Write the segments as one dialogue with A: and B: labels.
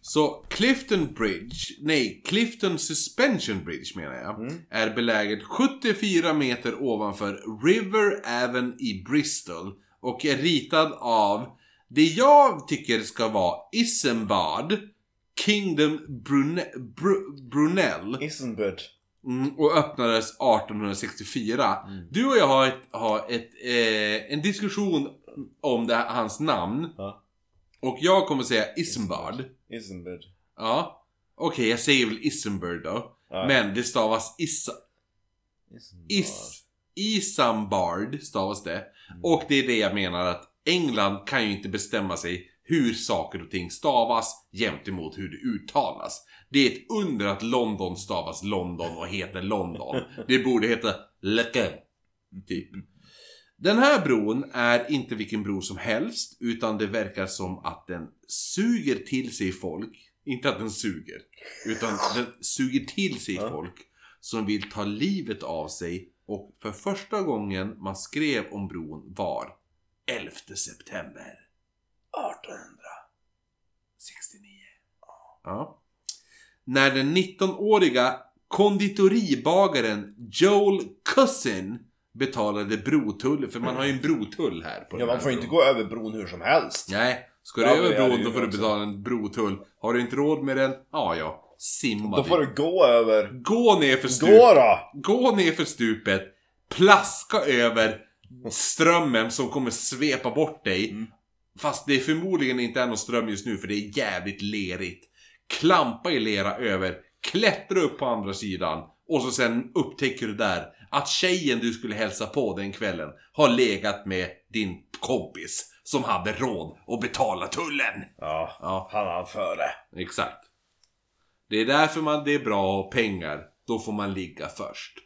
A: Så Clifton Bridge, nej Clifton Suspension Bridge menar jag, är beläget 74 meter ovanför River Aven i Bristol och är ritad av det jag tycker ska vara Isambard Kingdom Brune, Bru, Brunel.
B: Isenbud.
A: Mm, och öppnades 1864. Du och jag har, ett, har ett, eh, en diskussion om det, här- hans namn.
B: Ja.
A: Och jag kommer säga Isambard.
B: Isenbud.
A: Ja. Okej, jag säger väl Isambard då.
B: Ja.
A: Men det stavas Isa,
B: Isenbad.
A: is, Isambard stavas det. Och det är det jag menar att England kan ju inte bestämma sig hur saker och ting stavas jämt emot hur det uttalas. Det är ett under att London stavas London och heter London. Det borde heta Lecce. Typ. Den här bron är inte vilken bro som helst utan det verkar som att den suger till sig folk. Inte att den suger. Utan den suger till sig
B: Ja.
A: folk som vill ta livet av sig och för första gången man skrev om bron var 11 september 1869. Ja. När den 19-åriga konditoribagaren Joel Cousin betalade brotull, för man har ju en brotull här. På
B: Ja,
A: den
B: man
A: här
B: får ju inte
A: bron.
B: gå över bron hur som helst.
A: Nej, ska du
B: Ja, det
A: över
B: är
A: bron
B: det
A: då
B: ju
A: får du
B: också.
A: betala en brotull. Har du inte råd med den, ja ja, simma
B: Då får
A: dit.
B: du gå över.
A: Gå ner för stupet.
B: Gå då!
A: gå ner för stupet, plaska över strömmen som kommer svepa bort dig.
B: Mm.
A: Fast det förmodligen inte är någon ström just nu för det är jävligt lerigt. Klampa i lera över, klättra upp på andra sidan och så sen upptäcker du där att tjejen du skulle hälsa på den kvällen har legat med din kompis som hade råd att betala tullen.
B: Ja,
A: Ja,
B: han han före.
A: Exakt. Det är därför man, det är bra att ha pengar. Då får man ligga först.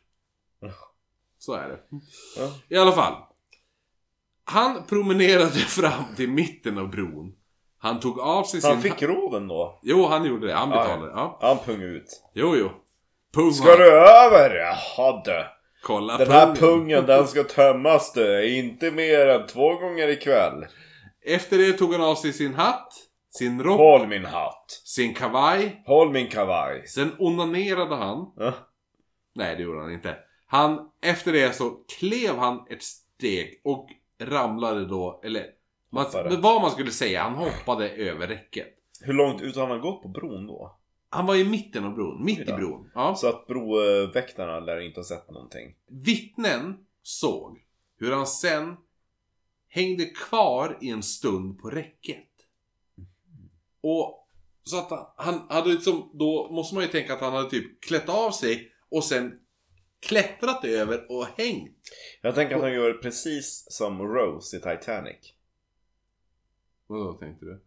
A: Så är det.
B: Ja.
A: I alla fall. Han promenerade fram till mitten av bron. Han tog av sig sin...
B: Han fick roven då.
A: Jo, han gjorde det. Han
B: Ja, ja.
A: betalade. Ja.
B: Han pung ut.
A: Jo, jo. Pung
B: Ska du över? Jaha du.
A: Kolla
B: Den här pungen den ska tömmas du. Inte mer än två gånger ikväll.
A: Efter det tog han av sig sin hatt, sin rock,
B: Håll min hatt.
A: sin kavaj.
B: Håll min kavaj.
A: Sen onanerade han.
B: Ja.
A: Nej, det gjorde han inte. Han, efter det så klev han ett steg och ramlade då, eller man,
B: Hoppade.
A: vad man skulle säga, han hoppade över räcket.
B: Hur långt ut har han gått på bron då?
A: Han var i mitten av bron, mitt i
B: Ja.
A: bron. Ja.
B: Så att broväktarna lär inte ha sett någonting.
A: Vittnen såg hur han sen hängde kvar i en stund på räcket. Och så att han, han hade liksom, då måste man ju tänka att han hade typ klätt av sig och sen klättrat över och hängt.
B: Jag tänker att han gör precis som Rose i Titanic.
A: Vadå tänkte du?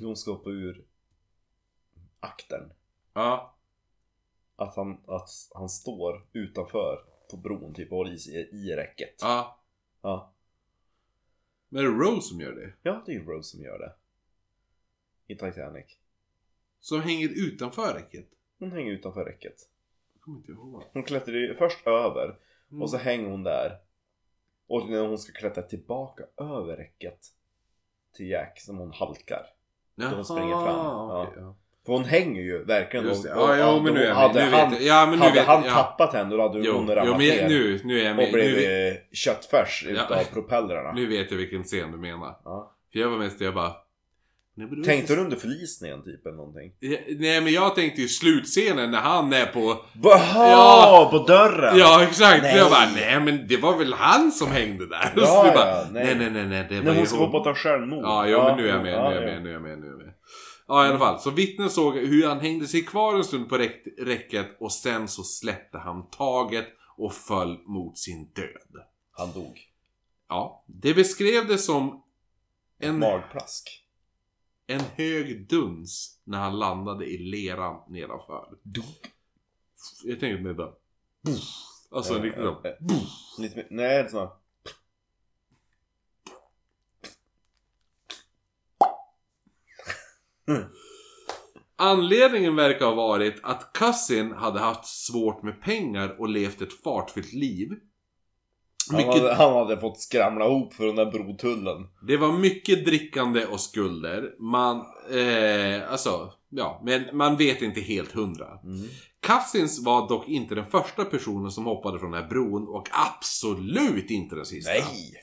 B: Hon ska hoppa ur aktern.
A: Ja,
B: Att han, att han står utanför på bron typ och håller i, sig i räcket.
A: ja.
B: Ja.
A: Men är det Rose som gör det?
B: ja, det är ju Rose som gör det. I Titanic.
A: Som hänger utanför räcket?
B: Hon hänger utanför räcket.
A: Jag kommer inte ihåg.
B: Hon klättrar ju först över
A: Mm.
B: och så hänger hon där. Och när hon ska klättra tillbaka över räcket till Jack som hon halkar.
A: Jaha,
B: hon springer fram.
A: Ah, okej, ja.
B: För hon hänger ju verkligen.
A: Just det.
B: Och- och-
A: Ja, jo, men nu är jag
B: hade
A: med. Nu
B: han,
A: vet jag. Ja, men nu
B: hade
A: vet
B: han
A: jag. Ja.
B: tappat henne då hade
A: Jo,
B: hon
A: jo
B: ramlat
A: men jag,
B: ner.
A: nu, nu är jag
B: Och
A: med. Nu,
B: blev
A: vet-
B: eh, köttfärs
A: Ja.
B: utav propellrarna.
A: nu vet jag vilken scen du menar.
B: Ja.
A: För jag var mest jag bara... Nej, men då-
B: Tänkte du under förlisningen typ eller någonting?
A: Ja, Nej men jag tänkte ju slutscenen när han är på...
B: Jaha!
A: Ja.
B: På dörren!
A: Ja exakt!
B: Nej.
A: Jag bara nej men det var väl han som hängde där?
B: Ja,
A: Och så du
B: ja,
A: bara,
B: nej.
A: nej nej nej nej det
B: När
A: var
B: hon
A: ju
B: ska hoppa och ta självmord.
A: Ja, jo, men nu är jag med, nu är jag
B: ja.
A: med, nu är jag med, nu är jag med. Ja, i alla fall. Så vittnen såg hur han hängde sig kvar en stund på räck- räcket och sen så släppte han taget och föll mot sin död.
B: Han dog.
A: Ja, det beskrev det som en,
B: Magplask.
A: en hög duns när han landade i leran nedanför.
B: Dog.
A: Jag tänkte mig bara... Alltså
B: Ja,
A: riktigt
B: ja,
A: så.
B: ja. Eh, Lite mer, nej, det snart.
A: Anledningen verkar ha varit att Cousin hade haft svårt med pengar och levt ett fartfyllt liv.
B: Han,
A: Mycket-
B: hade, han hade fått skramla ihop för den där brotullen.
A: Det var mycket drickande och skulder. Man, eh, alltså, ja, men man vet inte helt hundra. Cousins var dock inte den första personen som hoppade från den här bron och absolut inte den sista.
B: Nej!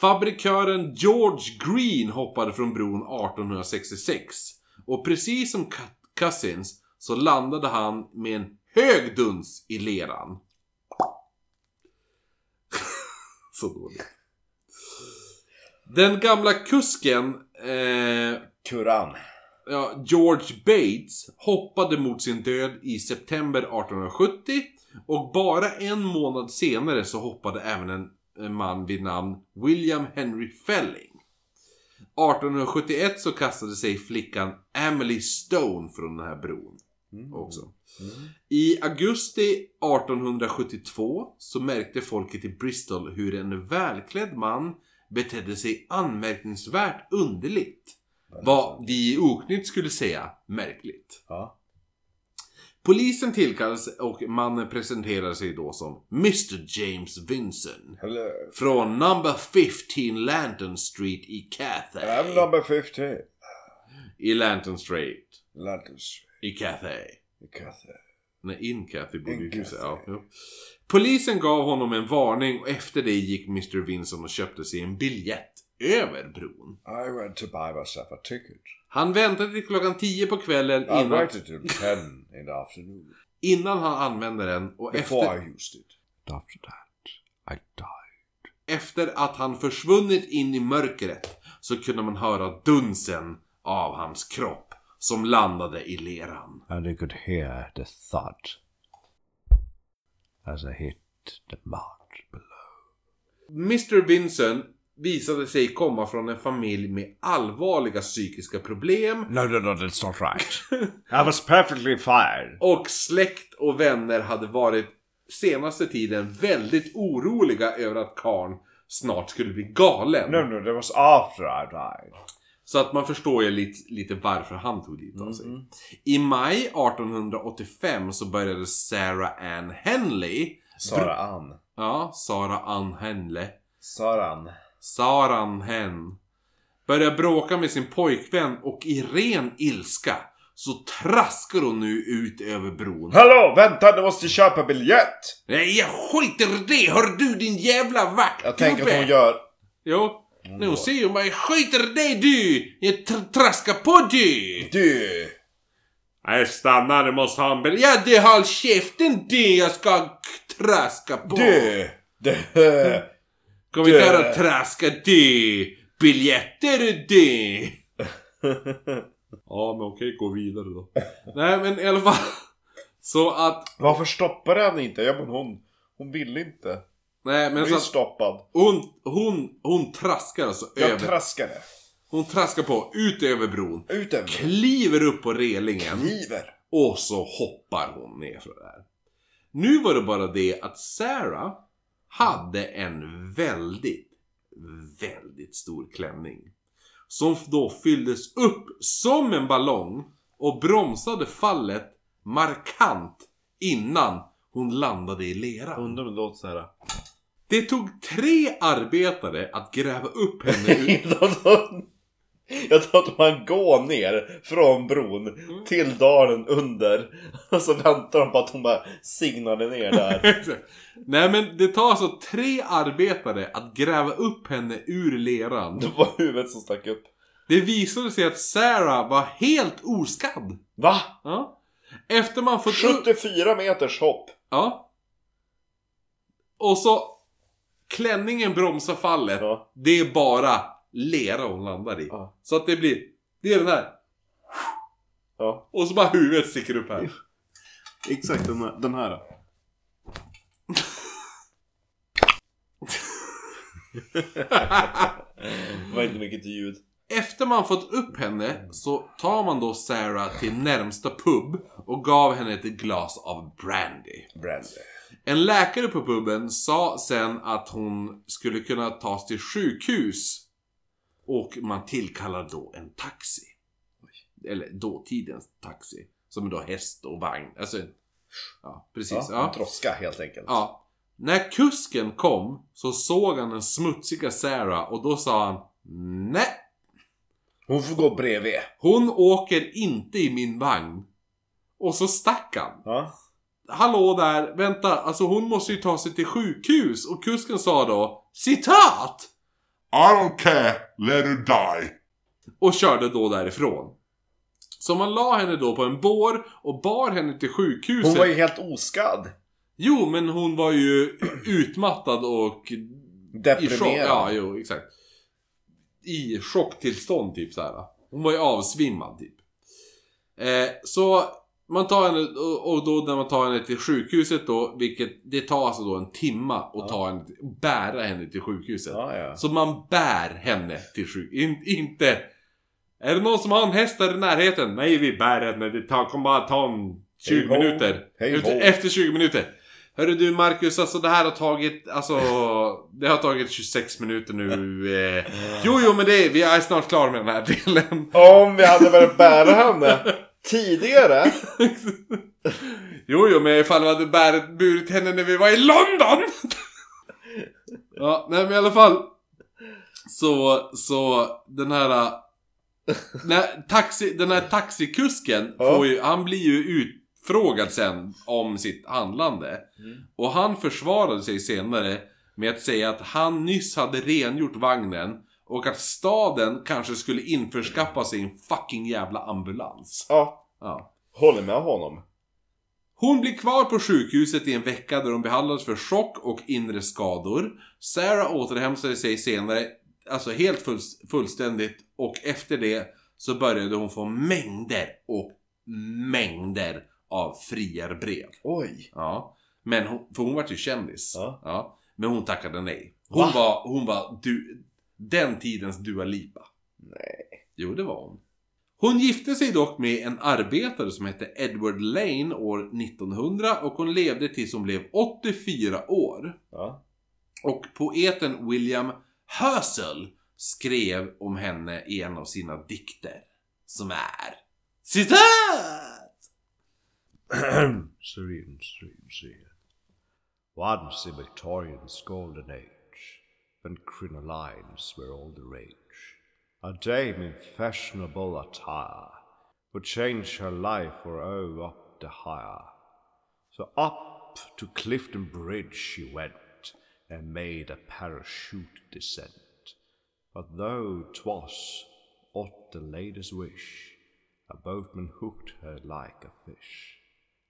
A: Fabrikören George Green hoppade från bron 1866. Och precis som Cu- Cousins så landade han med en hög duns i leran. så dåligt. Den gamla kusken eh,
B: Kuran.
A: ja, George Bates hoppade mot sin död i september 1870 och bara en månad senare så hoppade även en en man vid namn William Henry Felling. 1871 så kastade sig flickan Emily Stone från den här bron
B: Mm.
A: också.
B: Mm.
A: I augusti 1872 så märkte folket i Bristol hur en välklädd man betedde sig anmärkningsvärt underligt. Vad vi i Oknytt skulle säga märkligt.
B: Ja.
A: Polisen tillkallades och mannen presenterade sig då som Mr James Vinson.
B: Hello.
A: Från number 15 Lantern Street i
B: I'm
A: Cathay.
B: number 50.
A: I Lantern Street.
B: Ladders.
A: I Cathay.
B: Because, uh,
A: Nej, in Kathy borde ju
B: In
A: kunna säga. Ja,
B: Kathy.
A: jo. Polisen gav honom en varning och efter det gick Mr. Vinson och köpte sig en biljett över bron.
B: I went to buy myself a ticket.
A: Han väntade till klockan 10 på kvällen
B: I
A: innan,
B: waited till 10 in the afternoon.
A: innan han använde den och
B: Before
A: efter,
B: I used it. After that, I died.
A: efter att han försvunnit in i mörkret så kunde man höra dunsen av hans kropp som landade i leran.
C: and he could hear the thud as I hit the mud below.
A: Mr. Vinson visade sig komma från en familj med allvarliga psykiska problem
C: No, no, no, that's not right. I was perfectly fine.
A: Och släkt och vänner hade varit senaste tiden väldigt oroliga över att karn snart skulle bli galen.
C: No, no, that was after I died.
A: Så att man förstår ju lite, lite varför han tog dit av sig.
C: Mm-hmm.
B: Mhm.
A: I maj 1885 så började Sarah Ann Henley,
B: Sara Ann.
A: ja, Sarah Ann Henley,
B: Saran.
A: Saran Hen, börja bråka med sin pojkvän och i ren ilska så traskar hon nu ut över bron.
B: Hallå! Vänta, du måste köpa biljett!
A: Nej, jag skiter i det! Hör du din jävla vaktgubbe!
B: Jag tänker att hon gör...
A: Jo. Nu hon ser hon bara jag skiter i dig du! Jag tr- traskar på du!
B: Du!
A: Nej stanna du måste ha en bil. Ja du håll käften du! Jag ska k- traska på!
B: Du!
C: Mm.
B: Du!
A: Kom inte
B: du.
A: här och traska du! Biljetter du! ja men okej, gå vidare då. Nej men i alla fall. Så att...
B: Varför stoppade han inte? Ja men hon... Hon ville inte.
A: Nej
B: Hon
A: men så
B: är
A: att
B: stoppad.
A: hon, hon, hon traskar alltså över.
B: Jag traskade.
A: hon traskar på, ut över bron.
B: Ut över
A: Kliver upp på relingen.
B: Kniver.
A: Och så hoppar hon ner från där. Nu var det bara det att Sarah hade en väldigt, väldigt stor klänning. Som då fylldes upp som en ballong och bromsade fallet markant innan hon landade i leran.
B: Undrar om det låter såhär.
A: Det tog tre arbetare att gräva upp henne ur...
B: Jag tror att man går ner från bron
A: Mm.
B: till dalen under och så väntar de på att hon bara signade ner där.
A: Exakt. Nej men det tar alltså tre arbetare att gräva upp henne ur leran.
B: Det var huvudet som stack upp.
A: Det visade sig att Sarah var helt oskadd.
B: Va?
A: Ja. Efter man fått upp...
B: 74 meters hopp.
A: Ja. Och så... Klänningen bromsar fallet.
B: Ja.
A: Det är bara lera hon landar i.
B: Ja.
A: Så att det blir... Det är den här.
B: Ja.
A: Och så bara huvudet sticker upp här.
B: Exakt den här. Den här. Det var inte mycket till ljud.
A: Efter man fått upp henne så tar man då Sarah till närmsta pub och gav henne ett glas av brandy.
B: Brandy.
A: En läkare på puben sa sen att hon skulle kunna tas till sjukhus. Och man tillkallade då en taxi. Eller dåtidens taxi. Som är då häst och vagn. Alltså, ja precis.
B: Ja,
A: Ja,
B: en Droska helt enkelt.
A: ja. När kusken kom så såg han den smutsiga Sarah och då sa han Nej,
B: Hon får gå bredvid.
A: hon åker inte i min vagn. Och så stack han.
B: Ja.
A: Hallå där, vänta, alltså hon måste ju ta sig till sjukhus och kusken sa då citat!
D: I don't care. Let her die.
A: Och körde då därifrån. Så man la henne då på en bår och bar henne till sjukhuset.
B: Hon var ju helt oskadd.
A: Jo, men hon var ju utmattad och i chock.
B: Deprimerad.
A: Ja, jo, exakt. I chocktillstånd typ så här. Hon var ju avsvimmad typ. Eh, så man tar henne, och- och då när man tar henne till sjukhuset då, vilket det tar alltså då en timma att ta henne, bära henne till sjukhuset.
B: ja, ja.
A: Så man bär henne till sjukhuset. In, inte... Är det någon som har en häst där i närheten? Nej, vi bär henne. Det tar, kommer bara ta en 20
B: Hej ho.
A: minuter.
B: Hej
A: efter,
B: ho.
A: efter 20 minuter. Hörru du Marcus, alltså det här har tagit, alltså... Det har tagit 26 minuter nu. Eh. Jo, jo, men det är, vi är snart klara med den här delen.
B: Om vi hade börjat bära henne tidigare.
A: Jo, jo, men ifall vi hade bär, burit henne när vi var i London! ja, nej men i alla fall. Så, så den här... äh, När taxi, den här taxikusken
B: Ja.
A: får ju, han blir ju utfrågad sen om sitt handlande. Och han försvarade sig senare med att säga att han nyss hade rengjort vagnen och att staden kanske skulle införskaffa sig en fucking jävla ambulans.
B: Ja,
A: Ja.
B: håller med honom.
A: Hon blir kvar på sjukhuset i en vecka där hon behandlas för chock och inre skador. Sarah återhämtade sig senare, alltså helt full, fullständigt, och efter det så började hon få mängder och mängder av friarbrev.
B: Oj.
A: Ja. Men hon, för hon var ju kändis.
B: Ja.
A: Men hon tackade nej. Hon
B: Va?
A: var, hon var du, den tidens Dua Lipa. Nej. Jo, det var hon. Hon gifte sig dock med en arbetare som hette Edward Lane år 1900 och hon levde tills hon blev 84 år.
B: Ja.
A: Och poeten William Hösel skrev om henne i en av sina dikter. Som är... Citat!
C: serene, serene, serene. Once in Victorian's golden age, when crinolines were all the rage, a dame in fashionable attire would change her life or oh up the higher. So up to Clifton Bridge she went and made a parachute descent. But though 'twas at the lady's wish, a boatman hooked her like a fish,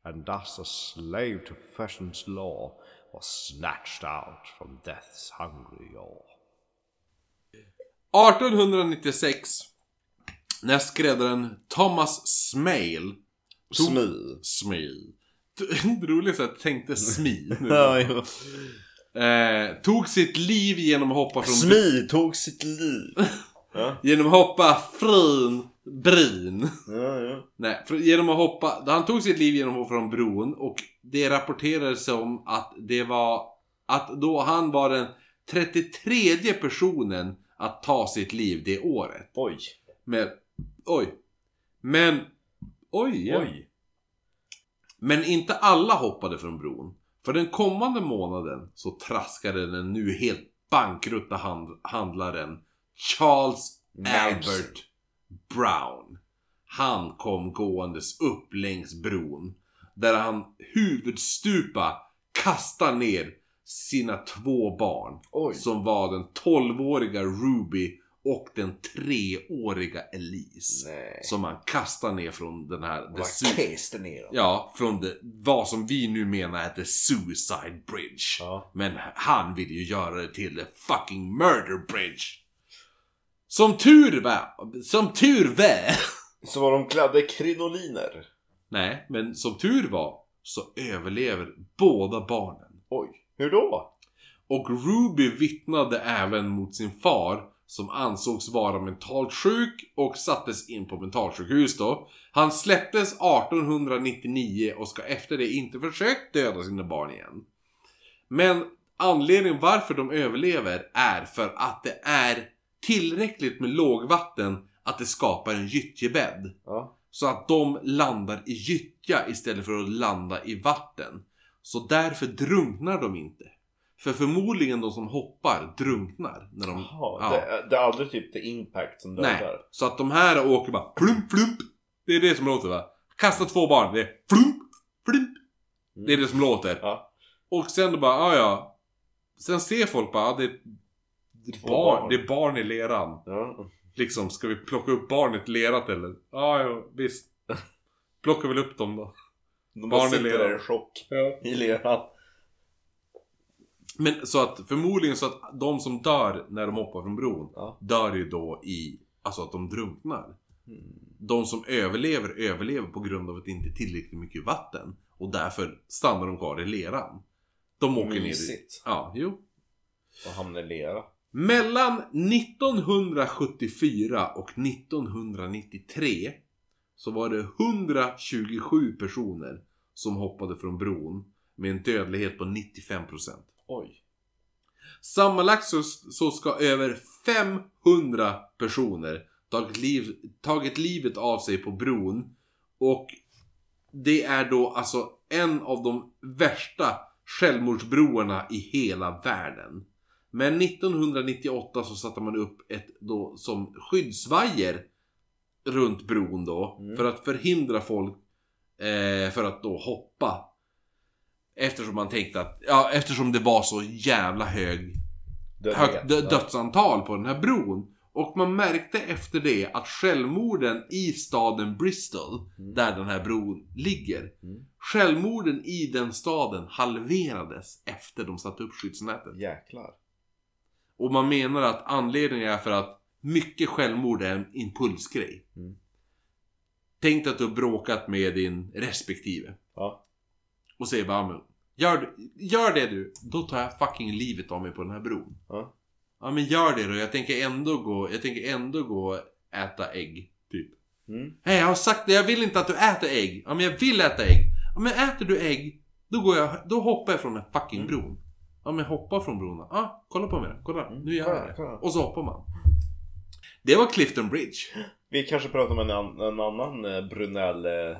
C: and thus a slave to fashion's law was snatched out from death's hungry yaw.
A: 1896 när skräddaren Thomas Smale Tog-
B: Smi.
A: Smil. Roligt att jag tänkte smi. nu.
B: Ja, jo.
A: eh, tog sitt liv genom att hoppa från...
B: Smi tog sitt liv.
A: Genom att hoppa från brin.
B: Ja, ja.
A: Nej, för, genom att hoppa... Han tog sitt liv genom att hoppa från bron och det rapporterades om att det var... Att då han var den 33 personen att ta sitt liv det året.
B: Oj.
A: Men... Oj. Men... Oj, ja.
B: Oj.
A: Men inte alla hoppade från bron. För den kommande månaden så traskade den nu helt bankrutta hand- handlaren Charles
B: Manson.
A: Albert Brown. Han kom gåendes upp längs bron. Där han huvudstupa kastar ner sina två barn.
B: Oj.
A: Som var den 12-åriga Ruby och den 3-åriga Elise.
B: Nej.
A: Som han kastar ner från den här... The
B: Vad
A: Su-
B: kast ner dem.
A: Ja, från det, vad som vi nu menar är The Suicide Bridge.
B: Ja.
A: Men han vill ju göra det till The fucking Murder Bridge. Som tur var, som tur var.
B: Så var de klädda i krinoliner.
A: Nej, men som tur var så överlever båda barnen.
B: Oj. Hur då?
A: Och Ruby vittnade även mot sin far som ansågs vara mentalt sjuk och sattes in på mentalsjukhus då. Han släpptes 1899 och ska efter det inte försökt döda sina barn igen. Men anledningen varför de överlever är för att det är tillräckligt med lågvatten att det skapar en gyttjebädd.
B: Ja.
A: Så att de landar i gyttja istället för att landa i vatten. Så därför drunknar de inte. För förmodligen de som hoppar drunknar när de...
B: Jaha,
A: ja.
B: det, det är aldrig typ the impact som
A: Nej,
B: dödar.
A: så att de här åker bara plump, plump. Det är det som låter va? Kasta två barn, det är plump, plump. Det är det som låter.
B: Mm. Ja.
A: Och sen då bara, ja ja. Sen ser folk bara, ja, det, det, är
B: Två
A: barn,
B: barn.
A: det är barn i leran.
B: Ja.
A: Liksom, ska vi plocka upp barnet lerat eller? Ja, ja visst. Plocka väl upp dem då.
B: De
A: Barn
B: bara
A: i
B: sitter
A: leran.
B: där i chock i leran.
A: Men så att förmodligen så att de som dör när de hoppar från bron
B: Ja.
A: dör ju då i, alltså att de drunknar.
B: Mm.
A: De som överlever, överlever på grund av att det inte är tillräckligt mycket vatten. Och därför stannar de kvar i leran. De åker ner i...
B: Mysigt.
A: Ja, jo.
B: Och hamnar i lera.
A: Mellan 1974 och 1993 så var det 127 personer som hoppade från bron med en dödlighet på 95%.
B: Oj.
A: Sammanlagt så, så ska över 500 personer tagit, liv, tagit livet av sig på bron. Och det är då alltså en av de värsta självmordsbroarna i hela världen. Men 1998 så satte man upp ett då som skyddsvajer runt bron då.
B: Mm.
A: För att förhindra folk eh, för att då hoppa Eftersom man tänkte att, ja eftersom det var så jävla hög, högt dö- dödsantal på den här bron. Och man märkte efter det att självmorden i staden Bristol,
B: Mm.
A: där den här bron ligger.
B: Mm.
A: Självmorden i den staden halverades efter de satte upp skyddsnätet.
B: Jäklar.
A: Och man menar att anledningen är för att mycket självmord är en impulsgrej.
B: Mm.
A: Tänk dig att du har bråkat med din respektive.
B: Ja.
A: Och säger bara, "Ja, men gör, gör det du, då tar jag fucking livet av mig på den här bron.
B: Ja.
A: Ja men gör det då, jag tänker ändå gå, jag tänker ändå gå och äta ägg. Typ.
B: Mm.
A: Nej jag har sagt det, jag vill inte att du äter ägg. Ja men jag vill äta ägg. Ja men äter du ägg, då, går jag, då hoppar jag från den här fucking
B: Mm.
A: bron. Ja men hoppa från bron då. Ja, kolla på mig då. Kolla,
B: Mm.
A: nu gör jag
B: Kolla,
A: det.
B: kolla.
A: Och så hoppar man. Det var Clifton Bridge.
B: Vi kanske pratar om en, an- en annan eh, Brunell eh,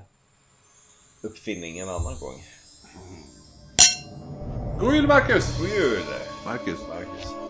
B: uppfinning en annan gång.
A: God jul Marcus!
B: God jul!
A: Marcus.
B: Marcus.